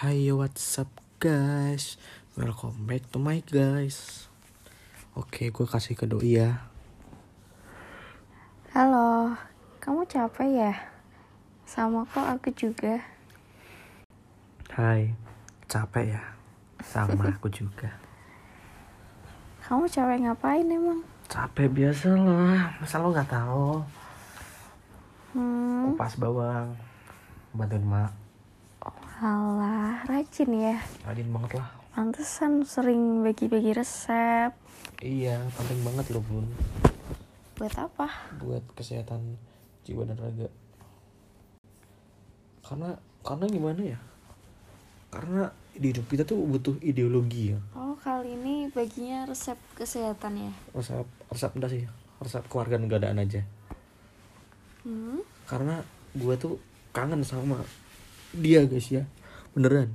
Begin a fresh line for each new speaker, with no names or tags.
Hai what's up guys Welcome back to my guys Oke gue kasih ke doi ya
Halo, kamu capek ya? Sama kok aku juga.
Hai Capek ya Sama aku juga
Kamu capek ngapain emang?
Capek biasa lah Masa lo gak tahu
Hmm,
Kupas bawang Bantuin mak
alah, rajin ya.
Rajin banget lah
Pantesan sering bagi-bagi resep.
Iya penting banget lo bun
Buat apa?
Buat kesehatan jiwa dan raga Karena Karena gimana ya Karena di hidup kita tuh butuh ideologi ya
Oh, kali ini baginya resep kesehatan ya.
resep resep enggak sih resep keluarga negaraan aja
Hmm,
karena gue tuh kangen sama dia guys ya beneran